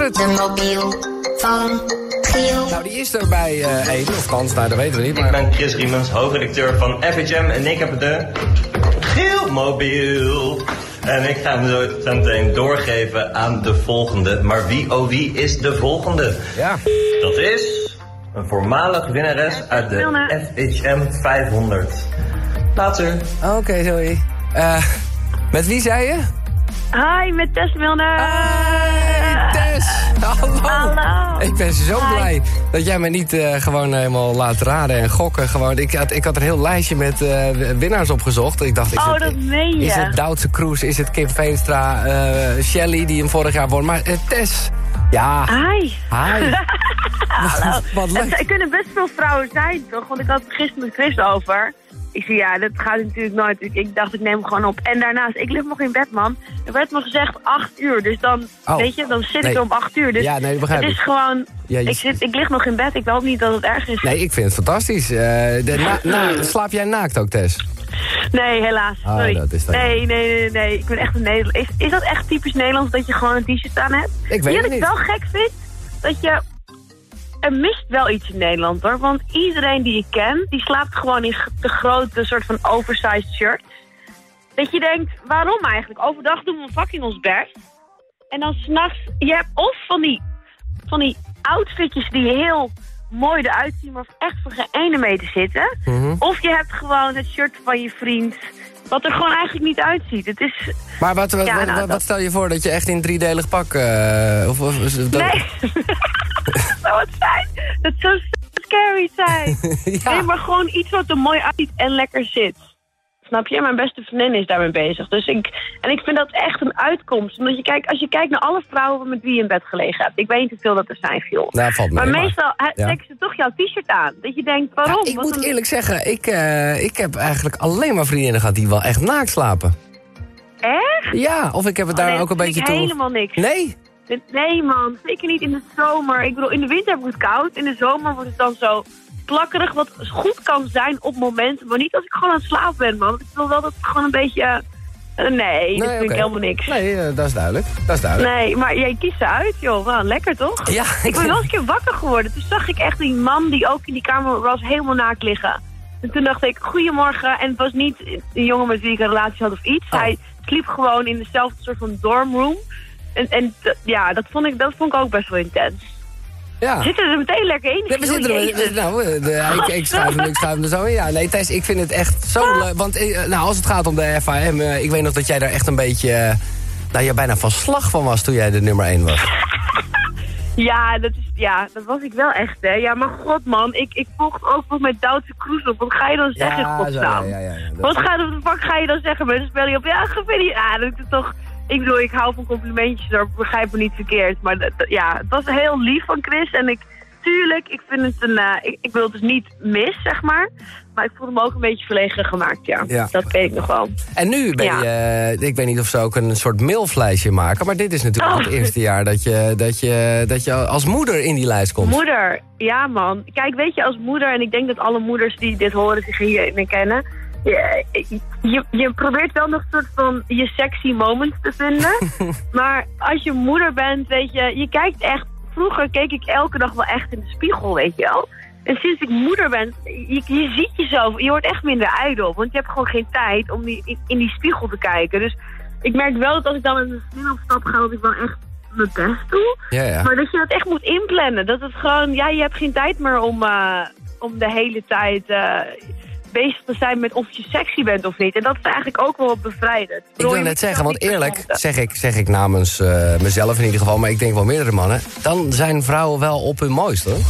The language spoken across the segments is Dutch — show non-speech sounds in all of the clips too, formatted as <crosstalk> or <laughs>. Secret. De mobiel van Giel. Nou, die is er bij eh Ede, of kans, nou, dat weten we niet. Ik Maar... ben Chris Riemens, hoofdredacteur van FHM en ik heb de Geelmobiel. En ik ga hem zo zo meteen doorgeven aan de volgende. Maar wie, oh wie is de volgende? Ja. Dat is een voormalig winnares uit de FHM 500. Later. Oké, sorry. Eh, met wie zei je? Hi, met Tess Milner. Hey, Tess! Hallo! Hallo. Ik ben zo Hi. blij dat jij me niet eh, gewoon helemaal laat raden en gokken. Gewoon. Ik, had, ik had een heel lijstje met eh, winnaars opgezocht. Ik dacht, is Oh, het, dat meen je. Is het Duitse Kroes, is het Kim Veenstra, eh, Shelley die hem vorig jaar won. Maar eh, Tess, ja, Hi. hi. <laughs> Wat, wat Ah. Het, leuk. er kunnen best veel vrouwen zijn, toch? Want ik had het gisteren met Chris over. Ik zei, ja, dat gaat natuurlijk nooit. Ik, ik dacht, ik neem hem gewoon op. En daarnaast, ik lig nog in bed, man. Er werd me gezegd acht uur. Dus dan, Oh. weet je, dan zit Nee. ik er om acht uur. Dus Ja, nee, dat begrijp het ik. is gewoon... Ja, je- ik, zit, ik lig nog in bed. Ik hoop niet dat het erg is. Nee, ik vind het fantastisch. Eh, de, na- na- slaap jij naakt ook, Tess? Nee, helaas. Ah, Sorry. dat is dan- nee, nee, nee, nee. Ik ben echt een Nederlander. Is, is dat echt typisch Nederlands dat je gewoon een t-shirt aan hebt? Ik weet Wat het ik niet. wel gek vind, dat je... Er mist wel iets in Nederland hoor. Want iedereen die je kent, die slaapt gewoon in de grote soort van oversized shirt. Dat je denkt, waarom eigenlijk? Overdag doen we fucking ons best. En dan s'nachts, je hebt of van die, van die outfitjes die heel mooi eruit zien, maar echt voor geen ene meter zitten. Of je hebt gewoon het shirt van je vriend, wat er gewoon eigenlijk niet uitziet. Het is... Maar wat, wat, Ja, wat, nou, wat dat- stel je voor dat je echt in driedelig pak... eh, of, of, of- dat- Nee, dat zou het zijn. Dat zou zo scary zijn. <laughs> <laughs> Ja. Nee, maar gewoon iets wat er mooi uitziet en lekker zit. Snap je? Mijn beste vriendin is daarmee bezig. Dus ik, en ik vind dat echt een uitkomst. Omdat je kijkt, als je kijkt naar alle vrouwen met wie je in bed gelegen hebt. Ik weet niet hoeveel dat er zijn, Giel. Nou, valt mee, maar maar- meestal he- Ja. trekken ze toch jouw t-shirt aan. Dat je denkt, Ja, waarom? ik Wat moet een- eerlijk zeggen, ik, eh, ik heb eigenlijk alleen maar vriendinnen gehad die wel echt naakt slapen. Echt? Ja, of ik heb het daar Nee, ook een dat vind beetje ik toe... helemaal niks. Nee? Dit- Nee man, zeker niet in de zomer. Ik bedoel, in de winter wordt het koud. In de zomer wordt het dan zo plakkerig. Wat goed kan zijn op momenten. Maar niet als ik gewoon aan het slapen ben, man. Want Ik wil wel dat het gewoon een beetje... eh, nee, dat vind oké. ik helemaal niks. Nee, Nee, eh, dat is duidelijk. Dat is duidelijk. maar jij kiest ze uit, joh. Wel, lekker toch? Ja, Ik <laughs> ben wel eens een keer wakker geworden. Toen zag ik echt die man die ook in die kamer was helemaal naakt liggen. En toen dacht ik, goedemorgen. En het was niet een jongen met wie ik een relatie had of iets. Oh. Hij sliep gewoon in dezelfde soort van dormroom. En, en t- ja, dat vond, ik, dat vond ik ook best wel intens. Ja. We zitten er meteen lekker in. Nee, we Joh, zitten er, jezus. we- nou, eh, <laughs> de- ik, ik schuif hem, ik schuif hem er zo in. Ja, nee, Thijs, ik vind het echt zo leuk. Want eh, nou, als het gaat om de FAM, eh, ik weet nog dat jij daar echt een beetje... eh, nou, je bijna van slag van was toen jij de nummer 1 was. Ja, dat is, ja, dat was ik wel echt, hè. Ja, maar god, man. Ik, ik volg ook nog met Duitse Kroes op. Wat ga je dan zeggen, in zo, godsnaam? ja. Dat- Wat ga, wat de fuck ga je dan zeggen? Mensen spelen je op. Ja, gefeliciteerd. Ja, dat is toch... Ik bedoel, ik hou van complimentjes. Daar begrijp me niet verkeerd. Maar dat- dat- ja, het was heel lief van Chris. En ik... Tuurlijk, ik vind het een... eh, ik, ik wil het dus niet mis, zeg maar. Maar ik voelde me ook een beetje verlegen gemaakt, ja. Ja. Dat weet ik nog wel. En nu ben Ja. je, eh, ik weet niet of ze ook een soort mailflijstje maken, maar dit is natuurlijk Oh. het eerste jaar dat je, dat, je, dat je als moeder in die lijst komt. Moeder, ja man. Kijk, weet je, als moeder, en ik denk dat alle moeders die dit horen zich hierin kennen. Je, je, je probeert wel nog een soort van je sexy moments te vinden. maar als je moeder bent, weet je, je kijkt echt. Vroeger keek ik elke dag wel echt in de spiegel, weet je wel. En sinds ik moeder ben, je, je ziet jezelf, je wordt echt minder ijdel. Want je hebt gewoon geen tijd om die, in, in die spiegel te kijken. Dus ik merk wel dat als ik dan met een vriendin op stap ga, dat ik wel echt mijn best doe. Ja, ja. Maar dat je dat echt moet inplannen. Dat het gewoon, ja, je hebt geen tijd meer om, eh, om de hele tijd eh, bezig te zijn met of je sexy bent of niet. En dat is eigenlijk ook wel bevrijdend. Ik wil net zeggen, want eerlijk eh, zeg ik, zeg ik namens eh, mezelf in ieder geval, maar ik denk wel meerdere mannen, dan zijn vrouwen wel op hun mooiste. hoor.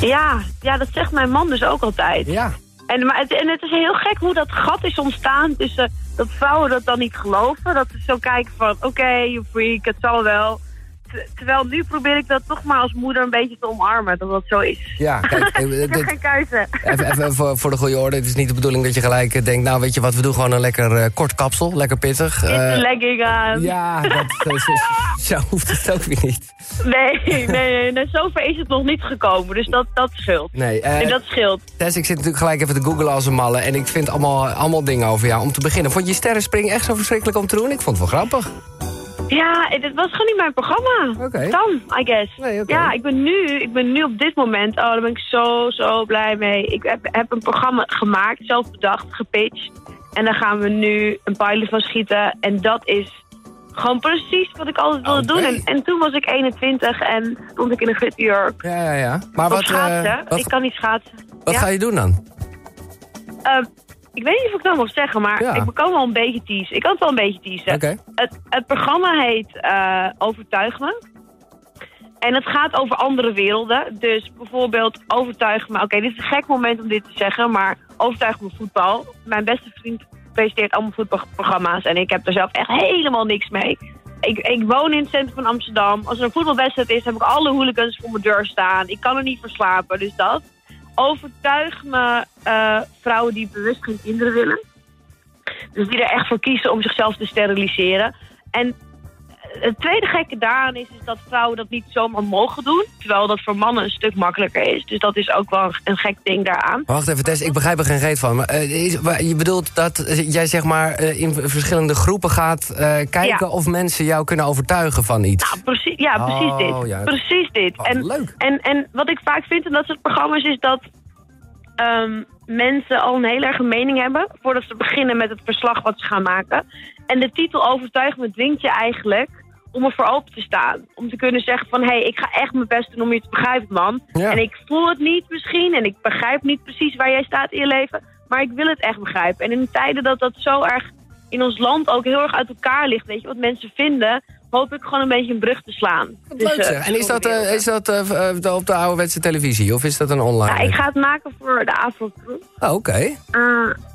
Ja, ja, dat zegt mijn man dus ook altijd. Ja. En, maar het, en het is heel gek hoe dat gat is ontstaan tussen dat vrouwen dat dan niet geloven. Dat ze zo kijken van, oké, je freak, het zal wel. Ter- terwijl nu probeer ik dat toch maar als moeder een beetje te omarmen, dat dat zo is. <laughs> Ja, kijk, eh, Ik heb dit- geen keuze. even, even voor, voor de goede orde, het is niet de bedoeling dat je gelijk eh, denkt, nou weet je wat, we doen gewoon een lekker eh, kort kapsel, lekker pittig. Dit is Eh, de legging aan. ja, dat, dat- zo- zo hoeft het ook weer niet. <laughs> Nee, nee, nee, nee, zover is het nog niet gekomen. Dus dat, dat scheelt. Nee, eh, En dat scheelt. Tess, ik zit natuurlijk gelijk even te googlen als een malle. En ik vind allemaal, allemaal dingen over jou. Om te beginnen, vond je sterrenspring echt zo verschrikkelijk om te doen? Ik vond het wel grappig. Ja, het, het was gewoon niet mijn programma. Oké. Dan, I guess. Nee, oké. Ja, ik ben, nu, ik ben nu op dit moment, oh, daar ben ik zo, zo blij mee. Ik heb, heb een programma gemaakt, zelf bedacht, gepitcht. En daar gaan we nu een pilot van schieten. En dat is gewoon precies wat ik altijd Oké. wilde doen. En, en toen was ik 21 en stond ik in een gitzjurk. Ja, ja, ja. Maar Op wat, eh, schaatsen. wat, ik kan niet schaatsen. wat Ja. ga je doen dan? Ehm, ik weet niet of ik dat mag zeggen, maar Ja. ik kan wel een beetje teasen. Ik kan het wel een beetje teasen. Oké. Het, het programma heet eh, Overtuig Me. En het gaat over andere werelden. Dus bijvoorbeeld overtuig me... Oké, dit is een gek moment om dit te zeggen, maar overtuig me voetbal. Mijn beste vriend presenteert allemaal voetbalprogramma's en ik heb er zelf echt helemaal niks mee. Ik, ik woon in het centrum van Amsterdam. Als er een voetbalwedstrijd is, heb ik alle hooligans voor mijn deur staan. Ik kan er niet voor slapen, dus dat. Overtuig me eh, vrouwen die bewust geen kinderen willen. Dus die er echt voor kiezen om zichzelf te steriliseren. En eh, het tweede gekke daaraan is, is dat vrouwen dat niet zomaar mogen doen. Terwijl dat voor mannen een stuk makkelijker is. Dus dat is ook wel een gek ding daaraan. Wacht even, Tess, ik begrijp er geen reet van. Maar, eh, is- wa- je bedoelt dat eh, jij zeg maar eh, in verschillende groepen gaat eh, kijken... Ja. of mensen jou kunnen overtuigen van iets. Nou, precies, ja, precies Oh, dit. ja. Precies dit. Oh, en, leuk. En, en wat ik vaak vind in dat soort programma's is dat ehm, mensen al een heel erg een mening hebben... voordat ze beginnen met het verslag wat ze gaan maken. En de titel Overtuig me dwingt je eigenlijk om ervoor open te staan. Om te kunnen zeggen van, hé, hey, ik ga echt mijn best doen om je te begrijpen, man. Ja. En ik voel het niet misschien en ik begrijp niet precies waar jij staat in je leven... maar ik wil het echt begrijpen. En in tijden dat dat zo erg in ons land ook heel erg uit elkaar ligt... weet je, wat mensen vinden, hoop ik gewoon een beetje een brug te slaan. Dus, Leuk tussen zeg. En is dat, eh, verschillende is dat eh, eh, op de ouderwetse televisie of is dat een online? Ja, Nou, ik ga het maken voor de avondgroep. Oh, Oké. Eh,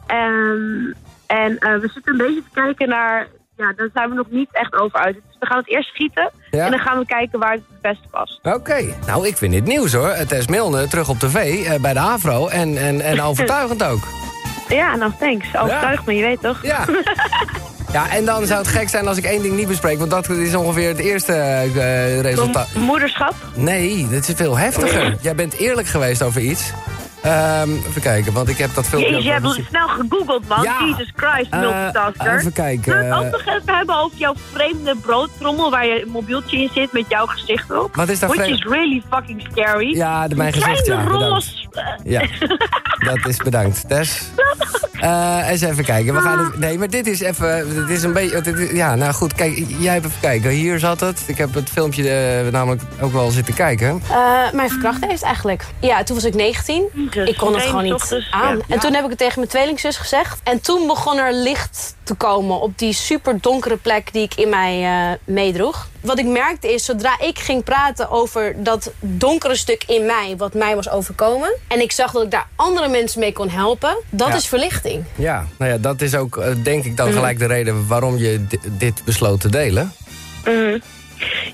en en eh, we zitten een beetje te kijken naar... Ja, daar zijn we nog niet echt over uit. Dus we gaan het eerst schieten. Ja. En dan gaan we kijken waar het het beste past. Oké, nou ik vind dit nieuws hoor. Het is Milne terug op tv eh, bij de Avro en, en, <laughs> en overtuigend ook. Ja, nou thanks. Overtuig me, je weet toch? Ja. Ja, en dan zou het gek zijn als ik één ding niet bespreek, want dat is ongeveer het eerste eh, eh, resultaat. Mo- Moederschap. Nee, dit is veel heftiger. Jij bent eerlijk geweest over iets. Ehm, even kijken, want ik heb dat filmpje... Jezus, ook je hebt wel het gezien. snel gegoogeld, man. Ja. Jesus Christ, Eh, multitasker. even kijken, Zullen we het eh. ook nog even hebben over jouw vreemde broodtrommel... waar je mobieltje in zit met jouw gezicht op? Wat is daar Which vreemd? is really fucking scary. Ja, de- mijn Kleine gezicht, ja, bedankt. rollen... Ja, dat is bedankt. <laughs> Tess. Eh, eens even kijken. We gaan Ah. het- nee, maar dit is even... Dit is een beetje... dit is- ja, nou goed. Kijk, jij hebt even kijken. Hier zat het. Ik heb het filmpje eh, namelijk ook wel zitten kijken. Eh, mijn verkrachter heeft eigenlijk. Ja, toen was ik 19. Jezus, ik kon het gewoon niet ochtends, ja. aan. En toen heb ik het tegen mijn tweelingzus gezegd. En toen begon er licht te komen op die super donkere plek die ik in mij eh, meedroeg. Wat ik merkte is, zodra ik ging praten over dat donkere stuk in mij, wat mij was overkomen. En ik zag dat ik daar andere mensen mee kon helpen. Dat Ja. is verlichting. Ja, nou ja, dat is ook eh, denk ik dan Mm. gelijk de reden waarom je di- dit besloot te delen.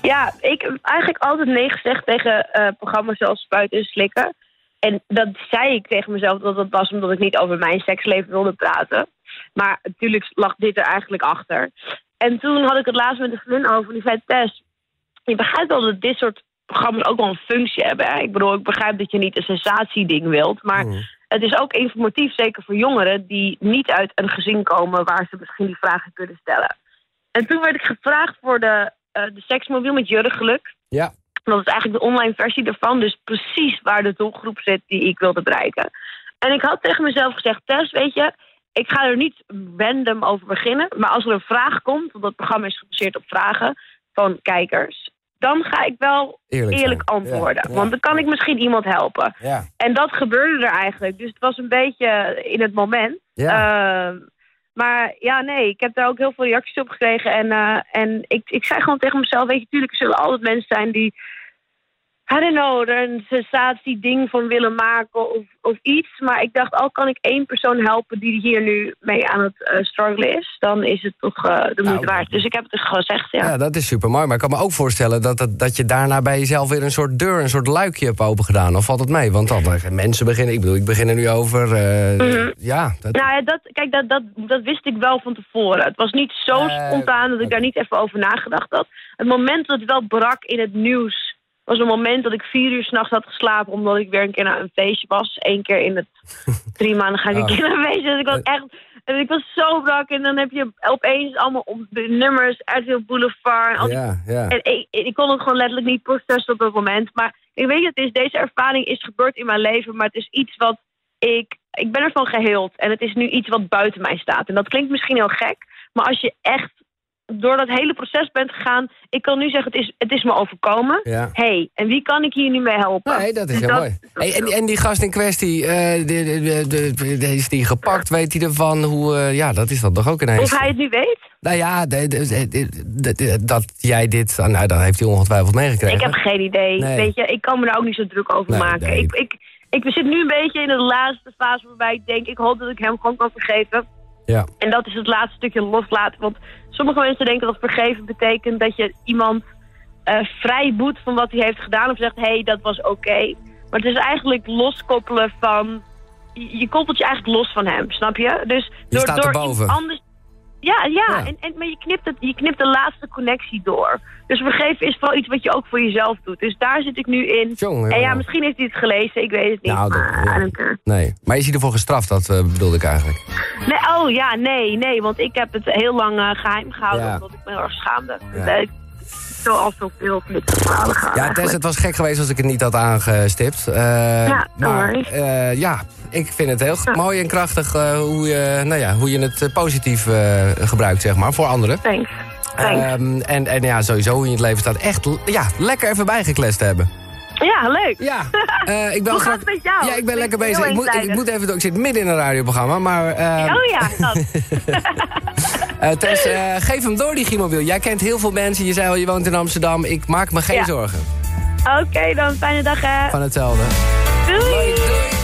Ja, ik heb eigenlijk altijd nee gezegd tegen eh, programma's zoals Spuiten en Slikken. En dat zei ik tegen mezelf dat dat was omdat ik niet over mijn seksleven wilde praten. Maar natuurlijk lag dit er eigenlijk achter. En toen had ik het laatst met een vriendin over. Die zei, Tess, je begrijpt wel dat dit soort programma's ook wel een functie hebben. Hè? Ik bedoel, ik begrijp dat je niet een sensatieding wilt. Maar het is ook informatief, zeker voor jongeren... die niet uit een gezin komen waar ze misschien die vragen kunnen stellen. En toen werd ik gevraagd voor de, eh, de seksmobiel met Jurre Geluk. Ja. Dat is eigenlijk de online versie daarvan. Dus precies waar de doelgroep zit die ik wilde bereiken. En ik had tegen mezelf gezegd, Tess, weet je... Ik ga er niet random over beginnen. Maar als er een vraag komt, want dat programma is gebaseerd op vragen van kijkers... dan ga ik wel Eerlijk eerlijk, zijn. antwoorden. Ja, ja. Want dan kan ik misschien iemand helpen. Ja. En dat gebeurde er eigenlijk. Dus het was een beetje in het moment. Ja. Ehm, maar ja, nee, ik heb daar ook heel veel reacties op gekregen. En, eh, en ik, ik zei gewoon tegen mezelf, weet je, tuurlijk er zullen altijd mensen zijn die... I don't know, er een sensatie-ding van willen maken of, of iets. Maar ik dacht, al kan ik één persoon helpen die hier nu mee aan het eh, struggelen is... dan is het toch eh, de moeite waard. Dus ik heb het dus gezegd, ja. ja, dat is super mooi. Maar ik kan me ook voorstellen dat, dat, dat je daarna bij jezelf weer een soort deur, een soort luikje hebt opengedaan. Of valt het mee? Want dan eh, mensen beginnen. Ik bedoel, ik begin er nu over. eh, Ja, dat, Nou ja, dat, kijk, dat, dat, dat wist ik wel van tevoren. Het was niet zo Eh, spontaan dat ik oké. daar niet even over nagedacht had. Het moment dat het wel brak in het nieuws... was een moment dat ik vier uur s'nachts had geslapen... omdat ik weer een keer naar een feestje was. Eén keer in het drie maanden ga ik een Oh. keer naar een feestje. Dus ik was echt En ik was zo brak. En dan heb je opeens allemaal op de nummers uit de boulevard. En, al die- Ja, ja. en ik, ik kon het gewoon letterlijk niet processen op dat moment. Maar ik weet dat is, deze ervaring is gebeurd in mijn leven. Maar het is iets wat ik... Ik ben ervan geheeld. En het is nu iets wat buiten mij staat. En dat klinkt misschien heel gek. Maar als je echt door dat hele proces bent gegaan... Ik kan nu zeggen, het is, het is me overkomen. Ja. Hé, hey, en wie kan ik hier nu mee helpen? Nee, dat is Dus heel mooi. Hey, en, en die gast in kwestie, eh, de- de- de- de- de- is die gepakt? Weet hij ervan? Hoe, eh, ja, dat is dan toch ook ineens. Of hij het nu weet? Nou ja, de- de- de- de- de- de- dat jij dit... ah, Nou, dat heeft hij ongetwijfeld meegekregen. Ik heb geen idee. Nee. Weet je, ik kan me daar ook niet zo druk over Nee, maken. nee. Ik, ik, ik zit nu een beetje in de laatste fase waarbij ik denk, ik hoop dat ik hem gewoon kan vergeven. Ja, En dat is het laatste stukje loslaten. Want sommige mensen denken dat vergeven betekent dat je iemand eh vrij boet van wat hij heeft gedaan. Of zegt, hé, hey, dat was oké. Maar het is eigenlijk loskoppelen van... Je je koppelt je eigenlijk los van hem, snap je? Dus door, staat door erboven. iets anders... Ja, ja, Ja. En, en, maar je knipt, het, je knipt de laatste connectie door. Dus vergeven is vooral iets wat je ook voor jezelf doet. Dus daar zit ik nu in. Tjonge, en ja, jonge. misschien heeft hij het gelezen, ik weet het niet. Nou, dat- maar ja. I don't care. nee. Maar is hij ervoor gestraft? Dat eh, bedoelde ik eigenlijk. Nee, oh ja, nee, nee, want ik heb het heel lang eh, geheim gehouden, Ja. omdat ik me heel erg schaamde. Ja. Ja. Ik zo al zoveel flikken verhalen gaan. Ja, Tess, het was gek geweest als ik het niet had aangestipt. Eh, don't maar worry. eh, ja, ik vind het heel g- mooi en krachtig eh, hoe, je, nou ja, hoe je het eh, positief eh, gebruikt, zeg maar, voor anderen. Thanks. Thanks. Ehm, en, en ja, sowieso hoe je in het leven staat. Echt l- ja, lekker even bijgeklest hebben. ja, leuk. Ja, eh, ik ben Hoe strak- gaat het met jou? Ja, ik ben lekker Ik ben heel bezig. Ik moet, ik, eenzijdig. moet even, door- ik zit midden in een radioprogramma, maar eh, Oh ja, <laughs> dat. eh, Tess, eh, geef hem door die chemobiel. Jij kent heel veel mensen, je zei al, je woont in Amsterdam. Ik maak me geen Ja. zorgen. Oké, dan fijne dag hè. Van hetzelfde. Doei. Doei.